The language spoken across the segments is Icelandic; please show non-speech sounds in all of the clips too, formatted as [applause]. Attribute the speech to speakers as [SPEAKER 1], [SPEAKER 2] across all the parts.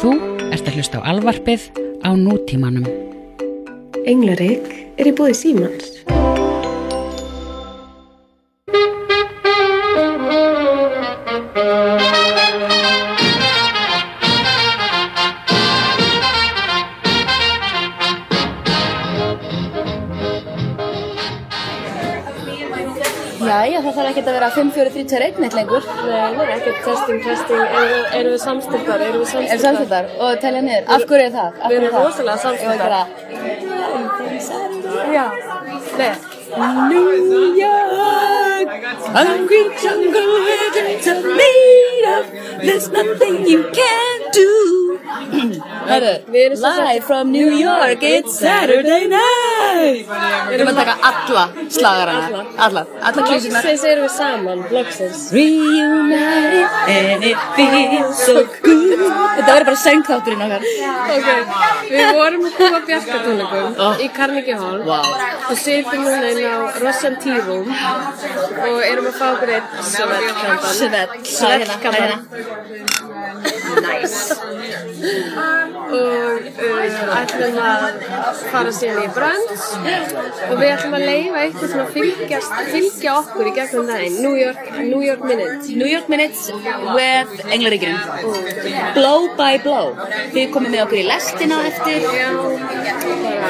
[SPEAKER 1] Þú ert að hlusta á alvarpið á nútímanum.
[SPEAKER 2] Englarik er í búið símans.
[SPEAKER 3] Jæja, það þarf ekkert að vera 5, 4, 3, 2, 1 neitt lengur.
[SPEAKER 4] Nei, nei, ekkert testing, testing, erum við, erum við samstiltar, erum við samstiltar?
[SPEAKER 3] Er samstættar og telja niður. Af hverju er það? Af
[SPEAKER 4] Við
[SPEAKER 3] hverju
[SPEAKER 4] erum
[SPEAKER 3] það?
[SPEAKER 4] rosalega samstilltar.
[SPEAKER 3] Ég var ekki
[SPEAKER 4] Já. Nei. [clears throat]
[SPEAKER 3] það. Hörru,
[SPEAKER 4] Við erum svo
[SPEAKER 3] live from New York, it's Saturday night. Við erum að taka alla slagarana. Alla, alla klísina.
[SPEAKER 4] Loksins erum við saman, loksins.
[SPEAKER 3] Reunited and it feels so good. Þetta verður bara söngþátturinn okkar.
[SPEAKER 4] Ok, við vorum að koma bjarkatónleikum
[SPEAKER 3] Oh.
[SPEAKER 4] í Carnegie Hall
[SPEAKER 3] Vá.
[SPEAKER 4] og sitjum núna inn á Rossan T-Room og erum að fá okkur eitt svettkantan.
[SPEAKER 3] Svell, það er hérna, það er hérna.
[SPEAKER 4] og uh, ætlum að fara síðan í Brands og við ætlum að leifa eitthvað svona fylgjast, fylgja okkur í gegnum daginn, New York, New York Minute.
[SPEAKER 3] New York Minutes with Englaríkjurinn Blow by blow Þið komið með okkur í lestina á eftir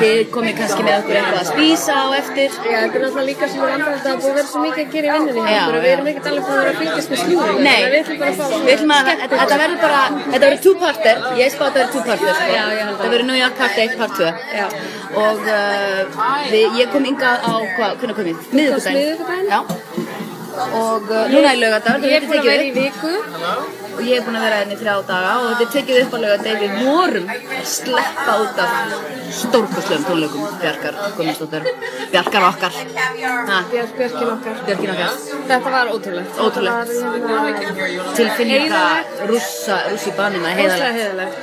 [SPEAKER 3] Þið komið kannski með okkur eitthvað að spýsa á eftir
[SPEAKER 4] Já, þetta er náttúrulega líka sem við andra þetta að búið að vera svo mikið að gera í vinnunni hjá
[SPEAKER 3] Já,
[SPEAKER 4] okkur og
[SPEAKER 3] já.
[SPEAKER 4] við erum ekkert alveg búin að vera að fylgjast með slúðum.
[SPEAKER 3] Nei,
[SPEAKER 4] Við ætlum bara að fá
[SPEAKER 3] við ætlum að, þetta verður bara, þetta verður two-parter, ég spá að þetta verður two-parter, sko.
[SPEAKER 4] Já, ég held að.
[SPEAKER 3] það verður New York part 1, part 2
[SPEAKER 4] Já.
[SPEAKER 3] og uh, við, ég kom yngað á, hva, hvernig kom ég? Miðugudaginn.
[SPEAKER 4] miðvikudaginn.
[SPEAKER 3] Já, og uh, núna er lögadagur,
[SPEAKER 4] Ég er
[SPEAKER 3] þetta
[SPEAKER 4] búin
[SPEAKER 3] er
[SPEAKER 4] að vera í
[SPEAKER 3] tekið upp
[SPEAKER 4] viku.
[SPEAKER 3] og ég er búin að vera hérna í þrjá daga og þetta er tekið upp á lögadeg, við vorum að sleppa út af stórkoslegum tónleikum, Bjarkar Gunnarsdóttir, Bjarkar okkar, ha,
[SPEAKER 4] Björk, Björkin okkar.
[SPEAKER 3] Bjarkin okkar,
[SPEAKER 4] Þetta var ótrúlegt.
[SPEAKER 3] Ótrúlegt.
[SPEAKER 4] Þetta var hérna,
[SPEAKER 3] tilfinninga
[SPEAKER 4] Heiðarlegt.
[SPEAKER 3] rússa, rússi banina,
[SPEAKER 4] ótrúlega
[SPEAKER 3] heiðalega.
[SPEAKER 4] heiðalegt.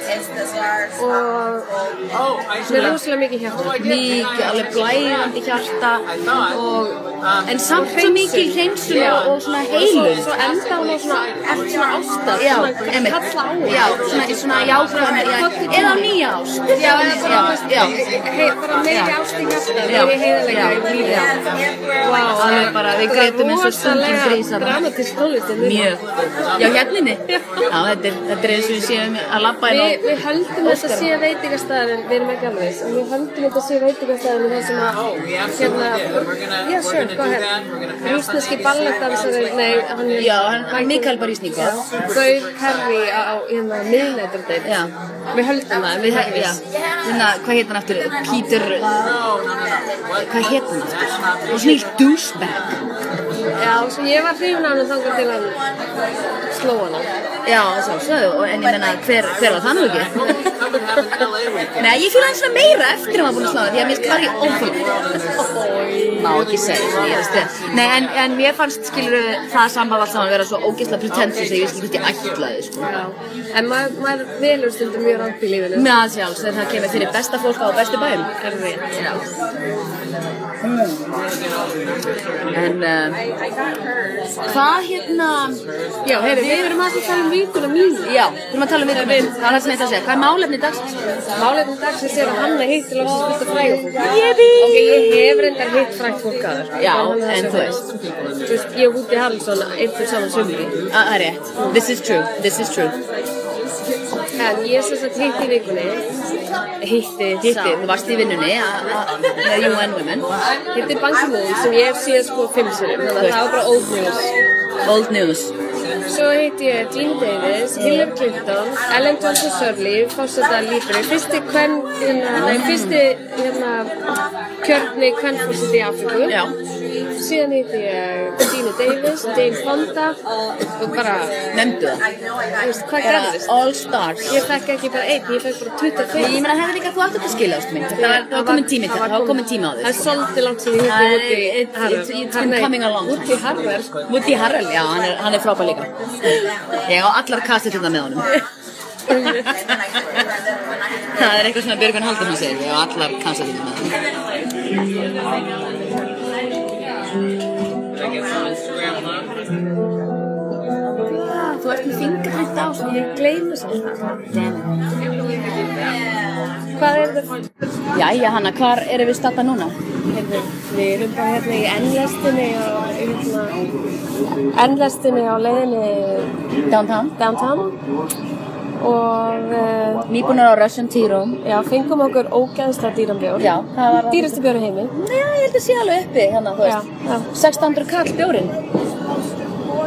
[SPEAKER 4] Og með rosalega mikið hjarta.
[SPEAKER 3] mikið, alveg blæðandi hjarta og, en samt svo
[SPEAKER 4] hreinsun.
[SPEAKER 3] mikil hreinsun
[SPEAKER 4] Já.
[SPEAKER 3] og, og svona
[SPEAKER 4] Svo,
[SPEAKER 3] heilun
[SPEAKER 4] svo enda hún á svona, eftir svona ástar,
[SPEAKER 3] Já,
[SPEAKER 4] svona
[SPEAKER 3] einmitt.
[SPEAKER 4] kalla á hún.
[SPEAKER 3] Já, svona, svona jákvæðan, já, eða á nýja ás.
[SPEAKER 4] Já, eða bara,
[SPEAKER 3] Já,
[SPEAKER 4] þú
[SPEAKER 3] já.
[SPEAKER 4] veist, hei, bara meiri
[SPEAKER 3] Já.
[SPEAKER 4] ást í hjarta,
[SPEAKER 3] Já,
[SPEAKER 4] meiri heiðalega í lífi.
[SPEAKER 3] já.
[SPEAKER 4] Vá,
[SPEAKER 3] Alveg bara, við greitum eins og stundum
[SPEAKER 4] Rosalega
[SPEAKER 3] þrísar.
[SPEAKER 4] dramatísk tónlist hérna.
[SPEAKER 3] Mjög. Já, hérninni. Já, þetta er, þetta er eins og við séum að labba inn á.
[SPEAKER 4] Við, við höldum þetta sé veitingastæðin, við erum ekki alveg þess, en við höldum þetta sé veitingastæðin þar sem að, hérna, já, sure, go ahead, rúsneski balletdansari, nei, hann er,
[SPEAKER 3] Já, hann, hann Mikael Barísníkó.
[SPEAKER 4] Gauð Perri á, á, hérna, miðnætturdeit.
[SPEAKER 3] Já.
[SPEAKER 4] Við höldum það,
[SPEAKER 3] Við,
[SPEAKER 4] við
[SPEAKER 3] já, hérna, hvað hétt hann aftur? Pítur, hvað hétt hann aftur? Það var svona ílt douchebag.
[SPEAKER 4] Já, svo ég var hrifin af hann þangar til hann sló hana.
[SPEAKER 3] Já, sjálfsögðu, og- en ég menna, hver, hver var það nú ekki? Nei, ég fýla hann svona meira eftir að maður búin að slá það, því að mér finnst bara í ófólk. Má ekki segja, svona, ég veist þið. Nei, en, en mér fannst, skilur, það samband allt saman vera svo ógeðslega pretentious að ég veist ekki hvort ég ætlaði, sko.
[SPEAKER 4] Já. En maður maður velur stundum mjög rátt í lífinu.
[SPEAKER 3] Með að sjálfsögðu, það kemur fyrir besta fólk á bestu bæum.
[SPEAKER 4] Er rétt.
[SPEAKER 3] Já. En, um, hvað hérna,
[SPEAKER 4] Já, heyrðu, við erum að tala um vikuna mínu.
[SPEAKER 3] já, þurfum að tala um viðkvæmum. Það er það sem ég ætla að segja. Hvað er málefni dagsins?
[SPEAKER 4] Málefnum dagsins er að Hanna hitti loksins fullt af frægum fólk. Jébi! Ok, ég hef reyndar hitt frægt fólk aður.
[SPEAKER 3] Já, en þú veist.
[SPEAKER 4] Þú veist, ég og Woody Harrelson eitt og saman sumri.
[SPEAKER 3] Ah, Það er rétt. This is true. This is true.
[SPEAKER 4] En ég sem sagt hitti í vikunni. Hitti,
[SPEAKER 3] Hitti,
[SPEAKER 4] sá.
[SPEAKER 3] þú varst í vinnunni a- a- með UN Women.
[SPEAKER 4] Hitti Bansi Moon sem ég hef síðan sko fimm sinni. Þannig að það var bara old news.
[SPEAKER 3] Old news.
[SPEAKER 4] Svo heiti ég Jean Davis, Hillary Clinton, Ellen Johnson Sirleaf, fórseta Líbri, fyrsti kven, hérna, nei, fyrsti, hérna, kjörni kvennfórseti í Afriku.
[SPEAKER 3] Já.
[SPEAKER 4] Síðan heiti ég Gina Davis, Jane Fonda og bara,
[SPEAKER 3] Nefndu það.
[SPEAKER 4] þú veist, hvað
[SPEAKER 3] Eða
[SPEAKER 4] gerðist?
[SPEAKER 3] All stars.
[SPEAKER 4] Ég fekk ekki bara einn, ég fekk bara 25.
[SPEAKER 3] Ég meina, hefði líka þú átt þetta skilja, ástu mín. Það var- það var komin tími til það. Það var komin tími á
[SPEAKER 4] Það
[SPEAKER 3] því.
[SPEAKER 4] er svolítið langt sem ég
[SPEAKER 3] Það er-
[SPEAKER 4] hitti
[SPEAKER 3] it-
[SPEAKER 4] Woody
[SPEAKER 3] it-
[SPEAKER 4] Harrell.
[SPEAKER 3] it's been
[SPEAKER 4] Hann- nei,
[SPEAKER 3] coming along.
[SPEAKER 4] Woody Harrell.
[SPEAKER 3] Woody Harrell, já, hann er, hann er frábær líka. Ég á allar kastið þetta með honum. [laughs] það er eitthvað svona Björgun Haldur hún segir, ég á allar kastið þetta með honum. Þú þú ert með fingarhætt á sko.
[SPEAKER 4] Ég gleymi sér það. Hvað er þetta?
[SPEAKER 3] Jæja hanna, hvar erum við starta núna?
[SPEAKER 4] Heyrðu, Við erum bara hérna í ennlestinni og hérna, ennlestinni á leiðinni
[SPEAKER 3] Downtown
[SPEAKER 4] downtown og uh,
[SPEAKER 3] Nýbúnar á Russian Tea Room
[SPEAKER 4] já, fengum okkur ógæðsla dýranbjór.
[SPEAKER 3] Já, það var-
[SPEAKER 4] Dýrasti bjór í heimi.
[SPEAKER 3] Já, ég held að sé alveg uppi hérna, þú
[SPEAKER 4] Já,
[SPEAKER 3] veist
[SPEAKER 4] já.
[SPEAKER 3] 600 kall bjórin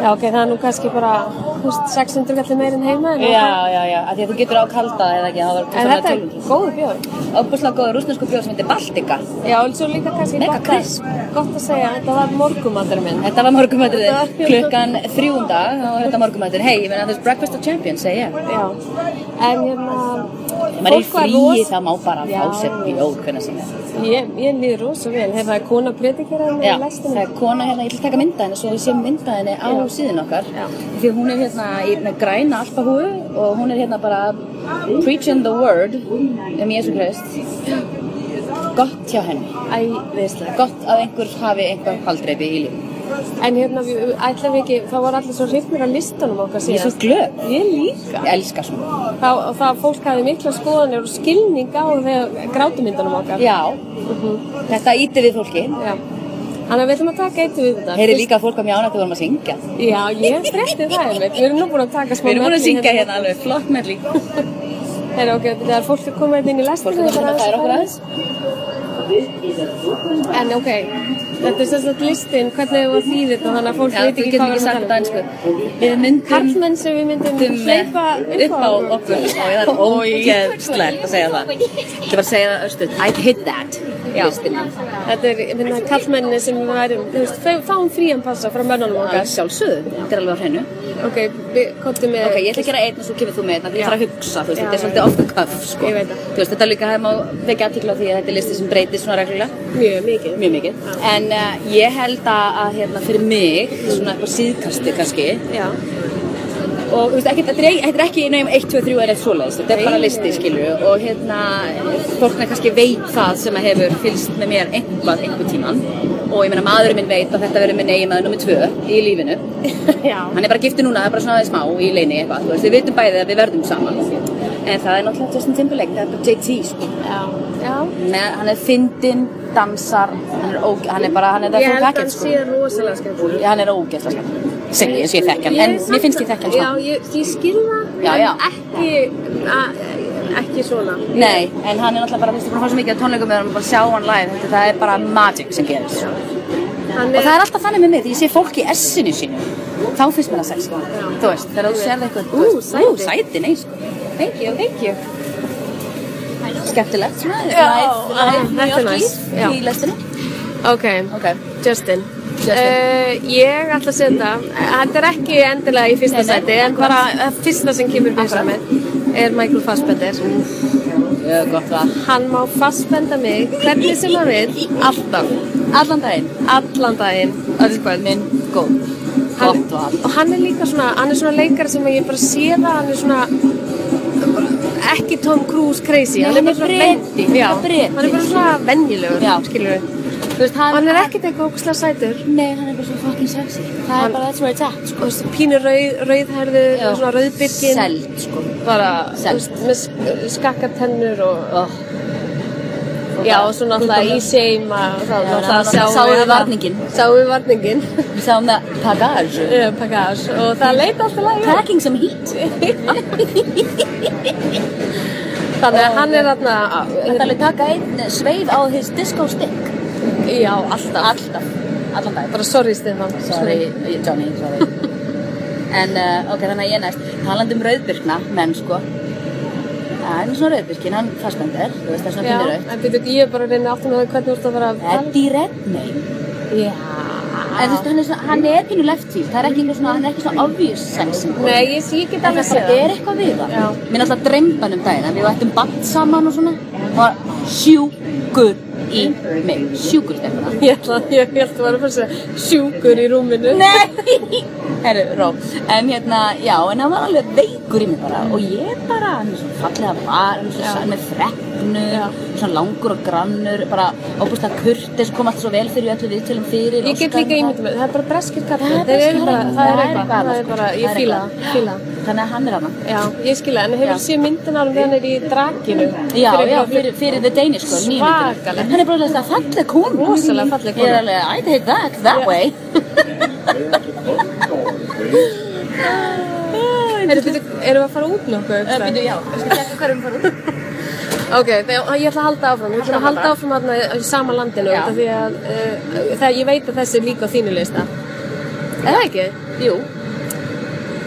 [SPEAKER 4] Já, ok, það er nú kannski bara, þú veist, 600 kallir meir en heima. en-
[SPEAKER 3] Já, já, já, af því að þú getur á kalda eða ekki, það var
[SPEAKER 4] En þetta er
[SPEAKER 3] 1200.
[SPEAKER 4] góð bjór.
[SPEAKER 3] Óbúslega góður rúsnesku bjór sem heitir Baltika.
[SPEAKER 4] Já, og svo líka kannski
[SPEAKER 3] Mega
[SPEAKER 4] gott að,
[SPEAKER 3] crisp.
[SPEAKER 4] gott að segja, þetta var morgumatur
[SPEAKER 3] Þetta
[SPEAKER 4] minn.
[SPEAKER 3] var
[SPEAKER 4] Þetta var
[SPEAKER 3] morgumætturinn,
[SPEAKER 4] fjórtán-
[SPEAKER 3] klukkan um þrjúnda og þetta morgumætturinn, hei, ég meina this breakfast of champions, segi ég.
[SPEAKER 4] Já, en hérna,
[SPEAKER 3] Ef maður er í fríi
[SPEAKER 4] rosa-
[SPEAKER 3] þá má bara
[SPEAKER 4] Já.
[SPEAKER 3] fá sér bjór hvernig sem er.
[SPEAKER 4] Ég, ég líður rosa vel, hefur það kona predikeraði með
[SPEAKER 3] Já,
[SPEAKER 4] í
[SPEAKER 3] það
[SPEAKER 4] lestinni.
[SPEAKER 3] er kona hérna, ég ætla að taka mynda henni svo við séum mynda henni á
[SPEAKER 4] Já.
[SPEAKER 3] síðin okkar
[SPEAKER 4] Já.
[SPEAKER 3] því að hún er hérna í hérna, græna alpahúu og hún er hérna bara preaching the word um Jésu Krist gott hjá henni
[SPEAKER 4] Æ, viðslega.
[SPEAKER 3] gott að einhver hafi einhver haldreipi í lífum
[SPEAKER 4] En hérna, við ætlum við ekki, það voru allir svo hrifnir af listunum okkar
[SPEAKER 3] ég er svo
[SPEAKER 4] síðast.
[SPEAKER 3] glöð,
[SPEAKER 4] Ég líka.
[SPEAKER 3] ég elska svona
[SPEAKER 4] Þá, það fólk hafði mikla skoðanir og skilning á þegar grátumyndunum okkar.
[SPEAKER 3] já, þetta íti við fólki
[SPEAKER 4] Mhm. Já. Þannig að við ætlum að taka eitt við þetta.
[SPEAKER 3] heyri líka að fólk að mjána þegar við vorum að syngja
[SPEAKER 4] Já, ég frétti það einmitt. Við erum nú búin að taka smá
[SPEAKER 3] við erum búin að
[SPEAKER 4] melli
[SPEAKER 3] syngja hérna alveg flott með líka
[SPEAKER 4] Heyrðu, ok, þegar fólk er komið hérna inn í lestina.
[SPEAKER 3] fólk er komin að færa okkur aðeins
[SPEAKER 4] En ok, þetta er sérstaklega listin, hvernig við varum þýðið þetta, þannig að fólk
[SPEAKER 3] já,
[SPEAKER 4] veit
[SPEAKER 3] þú
[SPEAKER 4] ekki
[SPEAKER 3] getur
[SPEAKER 4] hvað
[SPEAKER 3] ekki
[SPEAKER 4] við
[SPEAKER 3] sagt
[SPEAKER 4] erum að
[SPEAKER 3] þetta
[SPEAKER 4] tala um.
[SPEAKER 3] einsku við myndum
[SPEAKER 4] Karlmenn sem við myndum
[SPEAKER 3] Stundum
[SPEAKER 4] hleypa upp á
[SPEAKER 3] okkur og það er ógeðslegt að segja það Ég var að segja það östuð I'd hit that Já.
[SPEAKER 4] Þetta er, ég finna, kallmenninni sem við værum, þú veist, fá- fáum frían passa frá mönnunum
[SPEAKER 3] Það er
[SPEAKER 4] okkar.
[SPEAKER 3] sjálfsögðu, þetta er alveg á hreinu
[SPEAKER 4] Ok, við komum með...
[SPEAKER 3] Ok, ég ætla að gera einn og svo kemur þú með einn af því
[SPEAKER 4] Já.
[SPEAKER 3] ég þarf að hugsa, þú veist,
[SPEAKER 4] Já,
[SPEAKER 3] þetta er
[SPEAKER 4] já,
[SPEAKER 3] svolítið off the cuff, sko
[SPEAKER 4] Ég veit það.
[SPEAKER 3] Þú veist, þetta er líka hefði má vekja aðtikla því að þetta er listi sem breytir svona reglulega
[SPEAKER 4] Mjög mikið.
[SPEAKER 3] Mjög mikið En uh, ég held að, að, hérna, fyrir mig, svona eitthvað síðkasti kannski
[SPEAKER 4] Já.
[SPEAKER 3] og þú veist, ekkert, þetta, er, þetta er ekki nefnum 1, 2, 3 eða eitthvað svoleiðis, þetta er
[SPEAKER 4] Nei,
[SPEAKER 3] bara
[SPEAKER 4] nei.
[SPEAKER 3] listi, skilju og hérna, fólkna kannski veit það sem að hefur fylgst með mér einhvað einhver tíman og ég meina maðurinn minn veit að þetta verður minn eigin maður nummið 2 í lífinu
[SPEAKER 4] [laughs] Já.
[SPEAKER 3] hann er bara giftur núna, það er bara svona aðeins smá í leini eitthvað, þú veist, við vitum bæðið að við verðum saman en það er náttúrulega Justin Timberlake, það er bara JT, sko
[SPEAKER 4] Já. Já.
[SPEAKER 3] Nei, hann er fyndinn, dansar, hann er, óg, hann er bara, hann er það
[SPEAKER 4] Ég
[SPEAKER 3] full
[SPEAKER 4] held að
[SPEAKER 3] package,
[SPEAKER 4] hann
[SPEAKER 3] sko
[SPEAKER 4] sé rosalega skemmtileg.
[SPEAKER 3] Já, hann er ógeðslega skemmtilegur. Segi ég, sé ég þekki hann, en mér finnst ég þekki hann, sko.
[SPEAKER 4] Já, ég, ég skil það,
[SPEAKER 3] Já,
[SPEAKER 4] en
[SPEAKER 3] já.
[SPEAKER 4] ekki, a, ekki svona.
[SPEAKER 3] Nei, en hann er náttúrulega bara, þú veist, ég er búin að fá svo mikið á tónleikum með hann og bara sjá hann live, þetta það er bara magic sem gerist.
[SPEAKER 4] Hann
[SPEAKER 3] Og það er alltaf þannig með mig, því ég sé fólk í essinu sínu, þá finnst mér það sex, sko. Þú veist, þegar þú sérði eitthvað,
[SPEAKER 4] Ú,
[SPEAKER 3] ú,
[SPEAKER 4] sæti.
[SPEAKER 3] sæti, nei, sko.
[SPEAKER 4] Thank you, thank you.
[SPEAKER 3] Skemmtilegt, svona,
[SPEAKER 4] Já,
[SPEAKER 3] live,
[SPEAKER 4] þetta er
[SPEAKER 3] live,
[SPEAKER 4] nice.
[SPEAKER 3] live,
[SPEAKER 4] Já.
[SPEAKER 3] í lestinu.
[SPEAKER 4] Ok,
[SPEAKER 3] Ok.
[SPEAKER 4] Justin.
[SPEAKER 3] Justin.
[SPEAKER 4] Uh, ég ætla að setja, þetta er ekki endilega í fyrsta
[SPEAKER 3] Nei, nei,
[SPEAKER 4] seti, en bara það fyrsta sem kemur byrjast
[SPEAKER 3] Akkurat.
[SPEAKER 4] með er Michael Fassbender.
[SPEAKER 3] Já, gott það.
[SPEAKER 4] Hann má fassbenda mig hvernig sem hann vil, alltaf,
[SPEAKER 3] Allan daginn,
[SPEAKER 4] allan daginn, öll kvöld.
[SPEAKER 3] minn, góð.
[SPEAKER 4] Hann-
[SPEAKER 3] Gott það.
[SPEAKER 4] Og hann er líka svona, hann er svona leikari sem ég bara sé það, hann er svona ekki Tom Cruise crazy.
[SPEAKER 3] Nei, hann er
[SPEAKER 4] bara svona
[SPEAKER 3] Breti,
[SPEAKER 4] ven- Já,
[SPEAKER 3] hann er Breti.
[SPEAKER 4] hann er bara svona venjulegur,
[SPEAKER 3] Já.
[SPEAKER 4] skilur við.
[SPEAKER 3] Þú veist,
[SPEAKER 4] Og
[SPEAKER 3] hann,
[SPEAKER 4] hann er ekkert eitthvað ógustlega sætur.
[SPEAKER 3] Nei, hann er bara svo fucking sexy. Það
[SPEAKER 4] Hann-
[SPEAKER 3] er bara, that's where it's at, sko.
[SPEAKER 4] og þú veist, pínu rauð, rauðherður,
[SPEAKER 3] Já.
[SPEAKER 4] svona rauðbyrgin
[SPEAKER 3] Seld, sko.
[SPEAKER 4] bara, þú
[SPEAKER 3] Sel.
[SPEAKER 4] veist, með sk skakkatennur og
[SPEAKER 3] Oh.
[SPEAKER 4] já, og svo náttúrulega í seima og þá náttúrulega
[SPEAKER 3] náttúrulega sáum við varninginn.
[SPEAKER 4] sáum við varningin [laughs]
[SPEAKER 3] Við sáum það Pagage.
[SPEAKER 4] Eh, pakkás, og það leit alltaf læg út.
[SPEAKER 3] Packing some heat.
[SPEAKER 4] þannig að hann er þarna
[SPEAKER 3] Þetta alveg taka einn sveif á his disco stick.
[SPEAKER 4] já, alltaf,
[SPEAKER 3] Alltaf. Allan dag.
[SPEAKER 4] bara sorry Stefán
[SPEAKER 3] Sorry, Johnny, sorry. en uh, ok, þannig að ég næst. Talandi um rauðbyrkna, menn sko. Það er svona rauðbyrkin, hann fastbendir, þú veist það er svona
[SPEAKER 4] já,
[SPEAKER 3] pínur rauð.
[SPEAKER 4] en byrju, ég er bara að reyna aftur með það hvernig þú ert að vera að tala.
[SPEAKER 3] Eddie Redmayne.
[SPEAKER 4] já
[SPEAKER 3] En þú veist, hann er, svona, hann er pínu left field, það er ekki einhver svona, hann er ekki svona obvious sensing.
[SPEAKER 4] nei, ég, ég get
[SPEAKER 3] Það
[SPEAKER 4] alveg
[SPEAKER 3] er
[SPEAKER 4] séð [laughs]
[SPEAKER 3] bara, er eitthvað við það.
[SPEAKER 4] Já.
[SPEAKER 3] Mér náttúrulega dreymdi hann um daginn, að við ættum bann saman og svona. Og var sjúkur í mig. Sjúkur stefna.
[SPEAKER 4] ég ætla, ég held að vera að fara að segja sjúkur í rúminu
[SPEAKER 3] Nei! [laughs] Herru, ró. En hérna, já, en hann var alveg veikur í mig bara og ég bara, hann er svona fallega var, hann er svona sann með fregnur, svona langur og grannur, bara óbúslega kurtis, kom allt svo vel fyrir í öllu viðtölum fyrir.
[SPEAKER 4] Ég get
[SPEAKER 3] Óskar
[SPEAKER 4] líka
[SPEAKER 3] og-
[SPEAKER 4] ímyndið með, það er bara breskir kallar.
[SPEAKER 3] Það er
[SPEAKER 4] Þeir eru
[SPEAKER 3] breskir
[SPEAKER 4] bara,
[SPEAKER 3] kallar. Það er
[SPEAKER 4] það er
[SPEAKER 3] eitthvað,
[SPEAKER 4] eitthvað, það er
[SPEAKER 3] sko.
[SPEAKER 4] bara,
[SPEAKER 3] Það
[SPEAKER 4] ég
[SPEAKER 3] er
[SPEAKER 4] fíla
[SPEAKER 3] eitthvað.
[SPEAKER 4] það, fíla það.
[SPEAKER 3] Þannig að hann er hana.
[SPEAKER 4] Já, ég skilja, en hefur
[SPEAKER 3] Já.
[SPEAKER 4] séð myndin árum þegar hann er í drakinu.
[SPEAKER 3] Já,
[SPEAKER 4] Fyrir
[SPEAKER 3] já,
[SPEAKER 4] eitthvað-
[SPEAKER 3] fyrir, fyrir The Danish, sko, nýjum
[SPEAKER 4] Svakaleg.
[SPEAKER 3] Hann er bara alveg falleg konu.
[SPEAKER 4] Rosalega falleg
[SPEAKER 3] Ég er
[SPEAKER 4] kona.
[SPEAKER 3] alveg, I'd hate that, that way.
[SPEAKER 4] Heyrðu, byrju, erum við að fara út nokkuð?
[SPEAKER 3] Eh, Býtu, já, ég skal tekka hverjum fara út.
[SPEAKER 4] Ok, þegar, ég ætla að halda áfram, ég ætla að halda áfram hérna í sama landinu
[SPEAKER 3] Já.
[SPEAKER 4] út af því að uh, þegar ég veit að þessi er líka á þínu lista. Er það ekki?
[SPEAKER 3] Jú.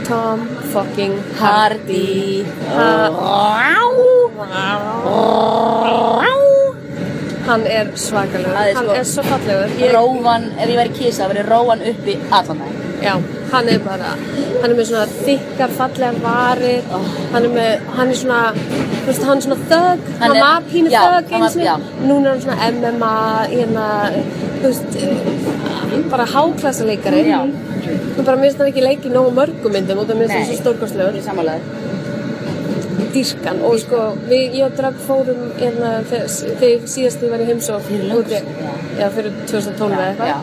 [SPEAKER 4] Tom fucking
[SPEAKER 3] Hardy.
[SPEAKER 4] Hann er svakalegur,
[SPEAKER 3] Það er
[SPEAKER 4] hann
[SPEAKER 3] sko-
[SPEAKER 4] er svo fallegur. Ég,
[SPEAKER 3] Róan, ef ég væri kísa, verið róan uppi allan dag.
[SPEAKER 4] já, hann er bara, hann er með svona þykkar, fallegar varir,
[SPEAKER 3] Oh.
[SPEAKER 4] hann er með, hann er svona, þú veist, hann er svona þögg,
[SPEAKER 3] Hann
[SPEAKER 4] hann
[SPEAKER 3] er-
[SPEAKER 4] var pínu
[SPEAKER 3] já,
[SPEAKER 4] þögg
[SPEAKER 3] hann var-
[SPEAKER 4] eins
[SPEAKER 3] já.
[SPEAKER 4] og, núna er hann svona MMA, hérna, þú veist, eh, bara háklassa leikari.
[SPEAKER 3] Já.
[SPEAKER 4] Þú bara minnst hann ekki leikið nógu mörgum myndum og það minnst hann
[SPEAKER 3] Nei.
[SPEAKER 4] svo stórkostlegur.
[SPEAKER 3] Ég er samanlega.
[SPEAKER 4] Dýrkan og sko, við, ég og Drag fórum hérna þegar þegar síðast því var í heimsók
[SPEAKER 3] Fyrir löngu
[SPEAKER 4] úti.
[SPEAKER 3] síðan,
[SPEAKER 4] Já, fyrir 2012 eða
[SPEAKER 3] Já.
[SPEAKER 4] eitthvað.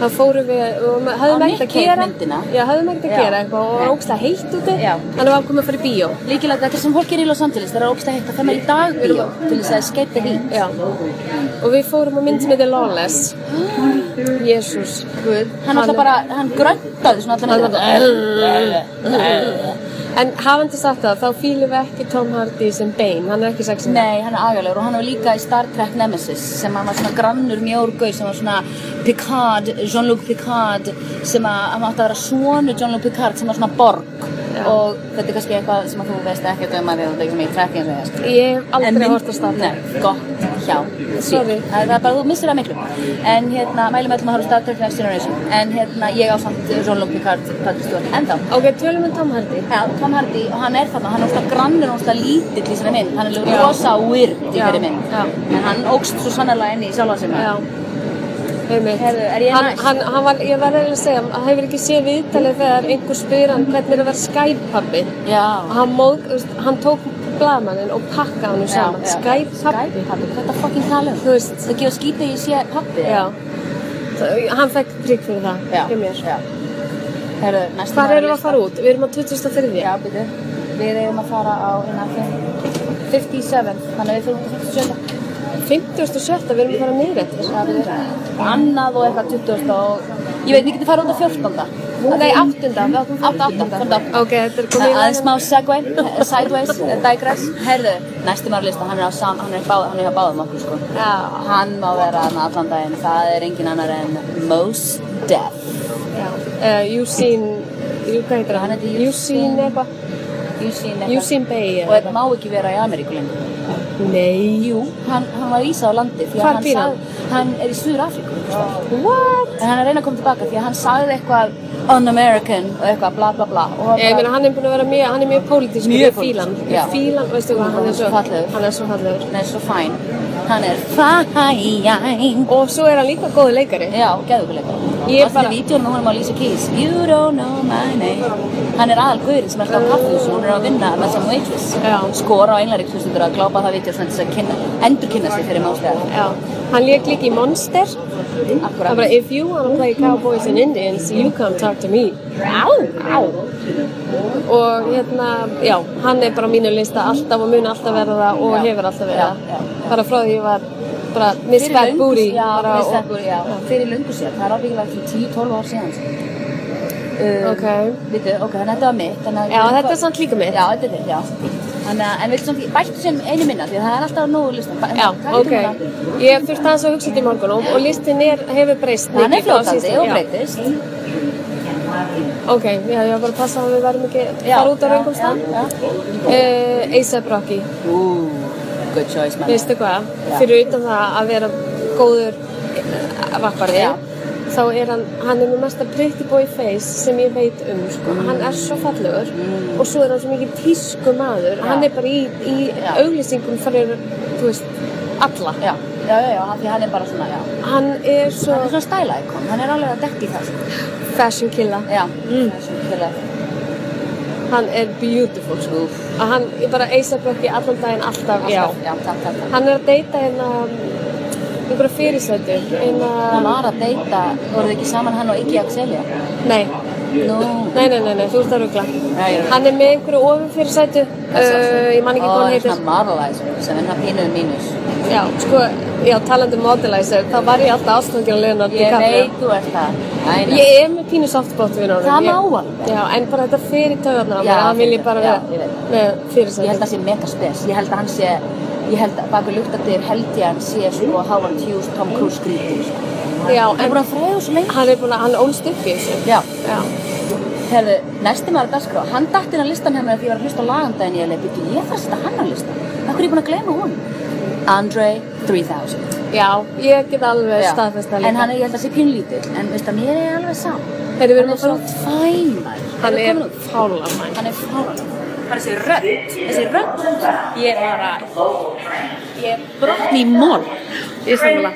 [SPEAKER 4] Þá fórum við, og ma- höfðum
[SPEAKER 3] Á
[SPEAKER 4] ekkert að
[SPEAKER 3] Nikkei
[SPEAKER 4] gera.
[SPEAKER 3] myndina.
[SPEAKER 4] Já, höfðum ekkert
[SPEAKER 3] Já.
[SPEAKER 4] að gera eitthvað og
[SPEAKER 3] Nei.
[SPEAKER 4] var ógstlega heitt úti.
[SPEAKER 3] Já.
[SPEAKER 4] Þannig var ákveðum að fara í bíó.
[SPEAKER 3] Líkilega þetta sem fólk er í Los Angeles, það er ógstlega heitt að það með í dag bíó til þess að escape the heat.
[SPEAKER 4] Já. Og við fórum á mynd sem heitir Lawless. Jésús, Guð.
[SPEAKER 3] Hann alltaf bara, hann gröntaði svona allan
[SPEAKER 4] Hann
[SPEAKER 3] alltaf.
[SPEAKER 4] En hafandi sagt það, þá fýlum við ekki Tom Hardy sem Bane. Hann er ekki sexy.
[SPEAKER 3] Nei, hann er agalegur og hann var líka í Star Trek Nemesis sem hann var svona grannur mjórgau sem var svona Picard, Jean-Luc Picard sem að hann átti að vera svonu Jean-Luc Picard sem var svona borg
[SPEAKER 4] Já.
[SPEAKER 3] og þetta er kannski eitthvað sem að þú veist ekkert um að því að þetta er ekki sem ég trekki eins og ég skilur.
[SPEAKER 4] Ég hef
[SPEAKER 3] En
[SPEAKER 4] aldrei
[SPEAKER 3] mynd-
[SPEAKER 4] hort á Star Trek.
[SPEAKER 3] Nei, gott, hjá, því.
[SPEAKER 4] Sorry.
[SPEAKER 3] Það það er bara, þú missir það miklu En hérna, mælum öllum að horfa á Star Trek Next Generation En hérna, ég á samt Jean-Luc Picard, Patrick Stewart, ennþá
[SPEAKER 4] Ok, tölum við um Tom Hardy.
[SPEAKER 3] Já, Tom Hardy, og hann er þarna, hann er óslega grannur og óslega lítill í þessari mynd, hann er líka
[SPEAKER 4] Já.
[SPEAKER 3] rosa weird í
[SPEAKER 4] Já,
[SPEAKER 3] þeirri mynd,
[SPEAKER 4] já.
[SPEAKER 3] en hann ógst svo sannarlega inn í sjálfa sem
[SPEAKER 4] Já, einmitt.
[SPEAKER 3] Heyrðu, er ég
[SPEAKER 4] hann,
[SPEAKER 3] næst?
[SPEAKER 4] hann, hann var, ég var eiginlega að segja, hann hefur ekki séð viðtalið þegar einhver spyr hann hvernig er að vera Skype-pabbi. Og
[SPEAKER 3] Já,
[SPEAKER 4] hann, móð, þú veist, hann tók blaðmannin og pakkaði hann saman. Skype-pabbi.
[SPEAKER 3] Skype-pappi, þetta fucking tala um,
[SPEAKER 4] Þú veist,
[SPEAKER 3] það gefur skítið í sé pappi,
[SPEAKER 4] já. Það- Hann fekk prigg fyrir það,
[SPEAKER 3] já,
[SPEAKER 4] hjá mér.
[SPEAKER 3] já. Herru, næstum
[SPEAKER 4] Hvar erum við að fara út? Við erum á 2003.
[SPEAKER 3] Já, byrju, við erum að fara á hérna, fimm- 57, þannig að við fyrir út á 57,
[SPEAKER 4] 57. við erum að fara niður eftir.
[SPEAKER 3] já, byrju, annað og eitthvað 20 og, ég veit, við getum fara út á 14.
[SPEAKER 4] Nei, 8. Við áttum
[SPEAKER 3] 8, 8, 8.
[SPEAKER 4] Ok, þetta er komið í
[SPEAKER 3] aðeins
[SPEAKER 4] lagina.
[SPEAKER 3] smá segway, eh, sideways, eh, digress Herðu, næstum var lista, hann er á sam, hann er hjá báð, hann er hjá báðum okkur sko
[SPEAKER 4] Já,
[SPEAKER 3] Hann má vera hann allan daginn, það er engin annar en Mos Def
[SPEAKER 4] já. Uh, you've seen, jú, hvað heitir
[SPEAKER 3] Hann
[SPEAKER 4] hann?
[SPEAKER 3] heitir You've
[SPEAKER 4] You've seen
[SPEAKER 3] Seen-
[SPEAKER 4] eitthvað.
[SPEAKER 3] Usain
[SPEAKER 4] You've seen Bay.
[SPEAKER 3] Og þetta má ekki vera í Ameríku lengur
[SPEAKER 4] Nei.
[SPEAKER 3] Jú, hann, hann var ísað á landi því að
[SPEAKER 4] Hvar
[SPEAKER 3] hann
[SPEAKER 4] býr hann?
[SPEAKER 3] sagði- Hann er í Suður Afríku
[SPEAKER 4] What?
[SPEAKER 3] En hann er að reyna að koma tilbaka því að hann sagði eitthvað un-American og eitthvað bla bla bla og
[SPEAKER 4] Ég meina, hann er búin að vera mjög, hann er mjög pólitískur.
[SPEAKER 3] Mjög
[SPEAKER 4] Ég fíla hann.
[SPEAKER 3] pólitískur, já.
[SPEAKER 4] Ég fíla hann, veistu hvað, hann er svo
[SPEAKER 3] fallegur.
[SPEAKER 4] Hann er svo fallegur.
[SPEAKER 3] hann er svo fæn Hann er fæn
[SPEAKER 4] Og svo er hann líka góð leikari.
[SPEAKER 3] Já, geðvikuleikar.
[SPEAKER 4] Ég
[SPEAKER 3] Ég er bara... Það
[SPEAKER 4] bara-
[SPEAKER 3] er vídjónum með honum á Lisa Keys. You don't know my name. Hann er aðal guðurinn sem er alltaf á kaffjús og hún er að vinna með saman veitlis.
[SPEAKER 4] Já.
[SPEAKER 3] Skora á englarík hlustundur að glápa það vídjó svona til þess að kynna, endur kynna sig fyrir máslega.
[SPEAKER 4] Já. Hann leik líka í Monster. Það er
[SPEAKER 3] Akkurat.
[SPEAKER 4] bara, if you wanna play cowboys and Indians, you come talk to me.
[SPEAKER 3] Á, á.
[SPEAKER 4] Og hérna, já, hann er bara á mínu lista alltaf og mun alltaf verða það og
[SPEAKER 3] Já.
[SPEAKER 4] hefur alltaf verið
[SPEAKER 3] Já,
[SPEAKER 4] það.
[SPEAKER 3] já, já.
[SPEAKER 4] Bara frá því ég var bara Miss
[SPEAKER 3] Fyrir
[SPEAKER 4] Fat
[SPEAKER 3] löngu-
[SPEAKER 4] Booty.
[SPEAKER 3] Já,
[SPEAKER 4] bara,
[SPEAKER 3] Miss Fat
[SPEAKER 4] og-
[SPEAKER 3] Booty, já. Fyrir löngu sér. Það er ábyggilega til 10-12 ár síðan. Um,
[SPEAKER 4] Ok.
[SPEAKER 3] Vitu, ok, þannig að þetta var mitt. þannig að-
[SPEAKER 4] Já, þetta er samt líka mitt.
[SPEAKER 3] Já, þetta er þitt, já. Þannig að, en viltu samt, bættu sem einu minna, því að það er alltaf nógu listan. Bæ-
[SPEAKER 4] Já,
[SPEAKER 3] taktu
[SPEAKER 4] ok.
[SPEAKER 3] núna.
[SPEAKER 4] Ég þurfti aðeins að hugsa þetta í morgun og, og listin er, hefur breyst.
[SPEAKER 3] Hann er
[SPEAKER 4] mikið frá
[SPEAKER 3] fljótandi
[SPEAKER 4] síðasta-
[SPEAKER 3] og
[SPEAKER 4] já.
[SPEAKER 3] breytist.
[SPEAKER 4] Ok, já, ég var bara að passa að við verðum ekki að
[SPEAKER 3] Já,
[SPEAKER 4] fara út á
[SPEAKER 3] já,
[SPEAKER 4] raungum stað.
[SPEAKER 3] já,
[SPEAKER 4] Uh, A$AP Rocky,
[SPEAKER 3] Ooh, good choice, man.
[SPEAKER 4] veistu hvað?
[SPEAKER 3] Já.
[SPEAKER 4] Fyrir utan það að vera góður rappari,
[SPEAKER 3] Já.
[SPEAKER 4] þá er hann, hann er með mesta pretty boy face sem ég veit um, sko.
[SPEAKER 3] Mm.
[SPEAKER 4] Hann er svo fallegur og svo er hann svo mikið tísku maður.
[SPEAKER 3] Já.
[SPEAKER 4] Hann er bara í, í
[SPEAKER 3] Já.
[SPEAKER 4] auglýsingum fyrir, þú veist, alla.
[SPEAKER 3] Já, já, já, já, af því hann er bara svona, já.
[SPEAKER 4] Hann er svo...
[SPEAKER 3] Hann er svona stæla ikon, hann er alveg að dekki það. sko.
[SPEAKER 4] Fashion Killa
[SPEAKER 3] Já,
[SPEAKER 4] Mm.
[SPEAKER 3] fyrir það.
[SPEAKER 4] Hann er beautiful sko Að hann er bara A$AP Rocky allan daginn alltaf,
[SPEAKER 3] Alltaf,
[SPEAKER 4] alltaf.
[SPEAKER 3] já, takk, takk, takk.
[SPEAKER 4] Hann er að deyta hérna einhverja fyrirsætu
[SPEAKER 3] Hann
[SPEAKER 4] hérna,
[SPEAKER 3] var að deyta, voruð þið ekki saman hann og Iggy Axelia?
[SPEAKER 4] nei,
[SPEAKER 3] Nú,
[SPEAKER 4] nei, nei, nei, nei, þú ert að rugla
[SPEAKER 3] Já, ég er að rugla.
[SPEAKER 4] Hann er með einhverju ofur fyrirsætu uh, Ég man ekki hvað hann
[SPEAKER 3] Ó,
[SPEAKER 4] heitir
[SPEAKER 3] svona modelizer, sem er hann pínuð mínus.
[SPEAKER 4] Já, sko, já, talandi um modelizer Þá var ég alltaf ástofngjörn Leonard
[SPEAKER 3] Ég
[SPEAKER 4] DiCaprio.
[SPEAKER 3] veit þú ert það. Æ, nei.
[SPEAKER 4] Ég er með pínu softbot við honum.
[SPEAKER 3] Það má
[SPEAKER 4] Ég-
[SPEAKER 3] alveg.
[SPEAKER 4] Já, en bara þetta fyrir töðarnar á
[SPEAKER 3] Já,
[SPEAKER 4] mér, það vil ég bara
[SPEAKER 3] já,
[SPEAKER 4] vera
[SPEAKER 3] ég veit.
[SPEAKER 4] með
[SPEAKER 3] Ég held að
[SPEAKER 4] fyrirsæti.
[SPEAKER 3] það sé mega spes. Ég held að hann sé, ég held að bakur luktatir held ég að hann sé sko Howard Hughes, Tom Cruise skrítið. sko.
[SPEAKER 4] Já,
[SPEAKER 3] Hann er
[SPEAKER 4] en
[SPEAKER 3] búin að fræða svo lengi.
[SPEAKER 4] hann er búin að, hann ólst upp í þessu.
[SPEAKER 3] Já,
[SPEAKER 4] Já,
[SPEAKER 3] herðu, næsti maður að dagskrá, hann datt inn á listan hefna því ég var að hlusta á lagandaginn ég leið, byrju, ég þarf að setja hann á listan. Akkur er ég búin að gleyma hún? Andre 3000.
[SPEAKER 4] já, ég get alveg
[SPEAKER 3] Já.
[SPEAKER 4] staðfesta líka.
[SPEAKER 3] En hann er, ég held að sé pínlítill, en veist að mér er alveg sam.
[SPEAKER 4] Heyrðu, við
[SPEAKER 3] Hann
[SPEAKER 4] erum
[SPEAKER 3] er svo
[SPEAKER 4] að fara út.
[SPEAKER 3] fæn, maður. Erum
[SPEAKER 4] Hann
[SPEAKER 3] við
[SPEAKER 4] er
[SPEAKER 3] komin út?
[SPEAKER 4] fálamæn.
[SPEAKER 3] Hann er fálan. Bara þessi rödd, þessi rödd. Ég er bara, ég er brotni í mól.
[SPEAKER 4] Ég samla.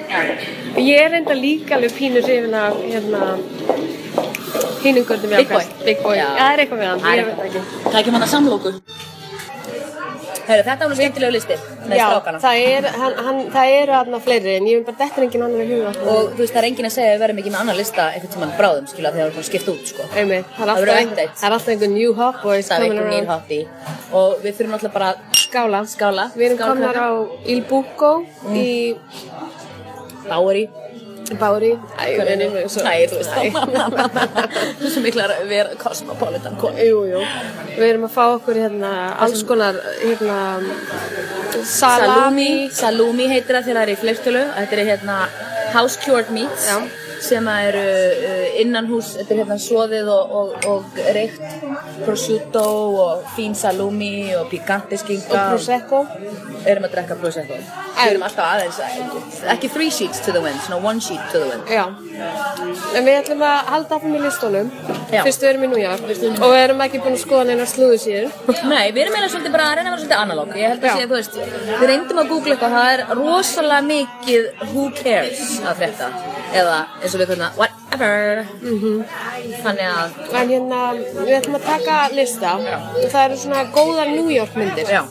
[SPEAKER 4] Ég er enda líka alveg pínu hrifin af, hérna, hínungöldum ég
[SPEAKER 3] Big Boy.
[SPEAKER 4] Big Boy. Já, það er eitthvað með hann, ég veit það ekki.
[SPEAKER 3] Tækjum hann að samlóku. Herru, þetta var nú skemmtilegu listi með
[SPEAKER 4] Já,
[SPEAKER 3] strákana.
[SPEAKER 4] það er, hann, hann, það eru aðna fleiri, en ég veit bara, þetta er engin annar í huga.
[SPEAKER 3] Og þú veist, það er enginn að segja að við verðum ekki með annan lista einhvern tímann bráðum, skilja, þegar við erum búin að skipta út, sko.
[SPEAKER 4] Einmitt, það er
[SPEAKER 3] Það verður
[SPEAKER 4] alltaf einhver-
[SPEAKER 3] ekkert.
[SPEAKER 4] það er alltaf einhver new hot boys
[SPEAKER 3] Það er
[SPEAKER 4] coming
[SPEAKER 3] einhvern nýr
[SPEAKER 4] around.
[SPEAKER 3] hátti. Og við þurfum náttúrulega bara að
[SPEAKER 4] Skála.
[SPEAKER 3] skála.
[SPEAKER 4] Við erum
[SPEAKER 3] Skála
[SPEAKER 4] komnar á
[SPEAKER 3] krakkar.
[SPEAKER 4] Il Bucco í
[SPEAKER 3] Bári.
[SPEAKER 4] Bári. Æ, ég veit ekki, svo-
[SPEAKER 3] Nei, [laughs] þú veist, það er svo miklar að vera kosmopolitan konu.
[SPEAKER 4] Jú, jú. Við erum að fá okkur hérna alls konar hérna salami.
[SPEAKER 3] Salumi heitir það þegar það er í fleirtölu. Þetta er hérna House Cured Meats
[SPEAKER 4] Já.
[SPEAKER 3] sem að eru uh, innan hús, þetta er hérna svoðið og, og, og reykt prosciutto og fín salumi og pikante skinka
[SPEAKER 4] og prosecco.
[SPEAKER 3] erum að drekka prosecco við erum alltaf aðeins ekki three sheets to the wind, svona one sheet to the wind
[SPEAKER 4] Já. En við ætlum að halda af með listunum.
[SPEAKER 3] Já.
[SPEAKER 4] Fyrst við erum í New York. Og við erum ekki búin að skoða neina slúðu síður.
[SPEAKER 3] Nei, við erum eiginlega svolítið bara að reyna að vera svolítið analog Ég held að
[SPEAKER 4] Já.
[SPEAKER 3] sé, þú veist, við reyndum að googla eitthvað Það er rosalega mikið who cares að frétta Eða eins og við hvernig whatever Mhm. Þannig að,
[SPEAKER 4] En hérna, við ætlum að taka lista. Það eru svona góðar New York myndir.
[SPEAKER 3] já